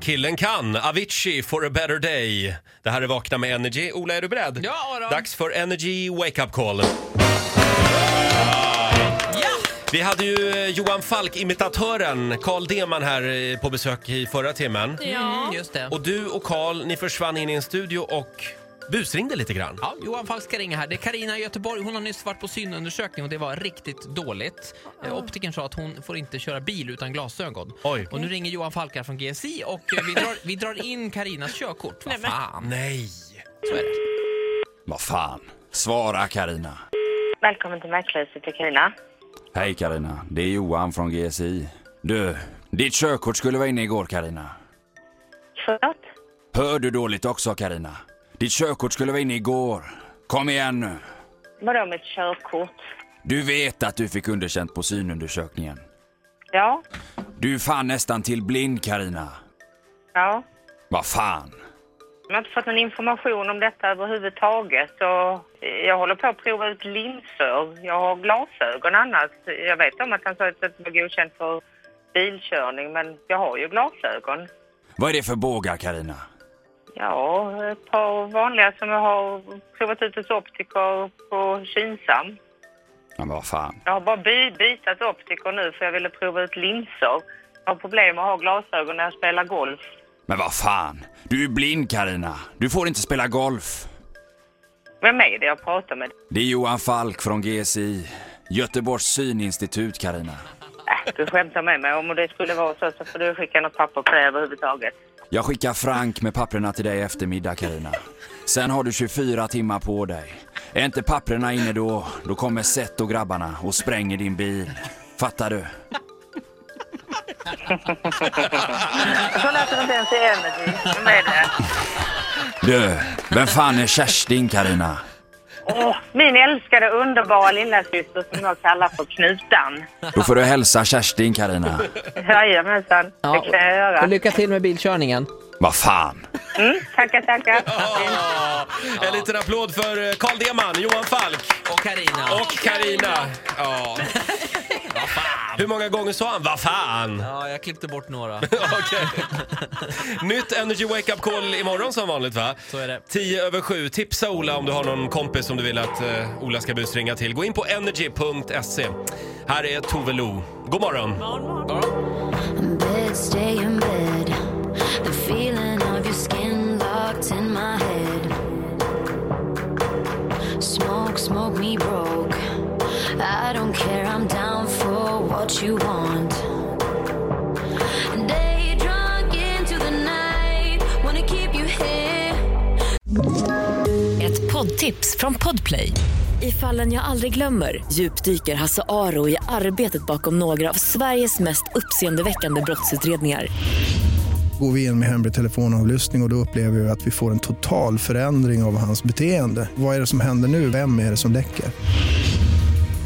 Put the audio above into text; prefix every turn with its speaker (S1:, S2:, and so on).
S1: killen kan. Avicii for a better day. Det här är Vakna med Energy. Ola, är du beredd?
S2: Ja, då.
S1: Dags för Energy Wake Up Call.
S2: Ja!
S1: Vi hade ju eh, Johan Falk-imitatören Carl Deman här eh, på besök i förra timmen.
S2: Mm, just det.
S1: Och du och Carl, ni försvann in i en studio och busringde lite grann.
S2: Ja, Johan Falk ska ringa här. Det är Karina i Göteborg. Hon har nyss varit på synundersökning och det var riktigt dåligt. Eh, Optikern sa att hon får inte köra bil utan glasögon.
S1: Oj.
S2: Och nu ringer Johan Falk här från GSI och eh, vi drar, vi drar in Karinas körkort. Vad
S3: Nej, men-
S2: fan.
S1: Nej!
S2: Så är det.
S4: Vad fan? Svara Karina.
S5: Välkommen till Mäklarhuset, det är Carina.
S4: Hej Karina, det är Johan från GSI. Du, ditt körkort skulle vara inne igår Karina.
S5: Förlåt?
S4: Hör du dåligt också Karina? Ditt körkort skulle vara inne igår. Kom igen nu.
S5: Vadå mitt körkort?
S4: Du vet att du fick underkänt på synundersökningen.
S5: Ja,
S4: Du är fan nästan till blind Karina.
S5: ja.
S4: Vad fan?
S5: Jag har inte fått någon information om detta överhuvudtaget. Så jag håller på att prova ut linser. Jag har glasögon annars. Jag vet om att han sa att det var godkänt för bilkörning, men jag har ju glasögon.
S4: Vad är det för bågar Karina?
S5: Ja, ett par vanliga som jag har provat ut hos optiker på Kinsam.
S4: Ja, Men vad fan?
S5: Jag har bara by- bytt optiker nu för jag ville prova ut linser. Jag har problem med att ha glasögon när jag spelar golf.
S4: Men vad fan? Du är blind Karina. Du får inte spela golf.
S5: Vem är det jag pratar med?
S4: Det är Johan Falk från GSI. Göteborgs syninstitut Karina.
S5: Äh, du skämtar med mig. Om det skulle vara så så får du skicka något papper på det överhuvudtaget.
S4: Jag skickar Frank med papperna till dig i eftermiddag, Karina. Sen har du 24 timmar på dig. Är inte papperna inne då, då kommer Seth och grabbarna och spränger din bil. Fattar du?
S5: Så lät det inte ens i Energy. Vem är det?
S4: Du, vem fan är Kerstin, Karina?
S5: Åh, min älskade underbara lillasyster som jag kallar för Knutan.
S4: Då får du hälsa Kerstin, Karina.
S5: Jajamensan, det kan jag
S2: Och
S5: göra.
S2: lycka till med bilkörningen.
S4: Vad fan?
S5: Mm, tackar, tackar.
S1: En liten applåd för eh, Carl Deman, Johan Falk
S2: Och Karina.
S1: och Karina. Ja. Hur många gånger sa han vad fan?
S2: Ja, jag klippte bort några.
S1: Okej. Nytt Energy Wake Up Call imorgon som vanligt va?
S2: Så är det.
S1: 10 över 7. Tipsa Ola om du har någon kompis som du vill att eh, Ola ska busringa till. Gå in på energy.se. E. Här är Tove Lo. God morgon.
S6: in bed, stay in bed. The feeling of your skin locked in my head. Smoke, smoke me broke. I don't care, I'm down for what you want. Day drunk into the night, wanna keep you here.
S7: Ett poddtips från Podplay. I fallen jag aldrig glömmer djupdyker Hasse Aro i arbetet bakom några av Sveriges mest uppseendeväckande brottsutredningar.
S8: Går vi in med hemlig telefonavlyssning och, och då upplever vi att vi får en total förändring av hans beteende. Vad är det som händer nu? Vem är det som läcker?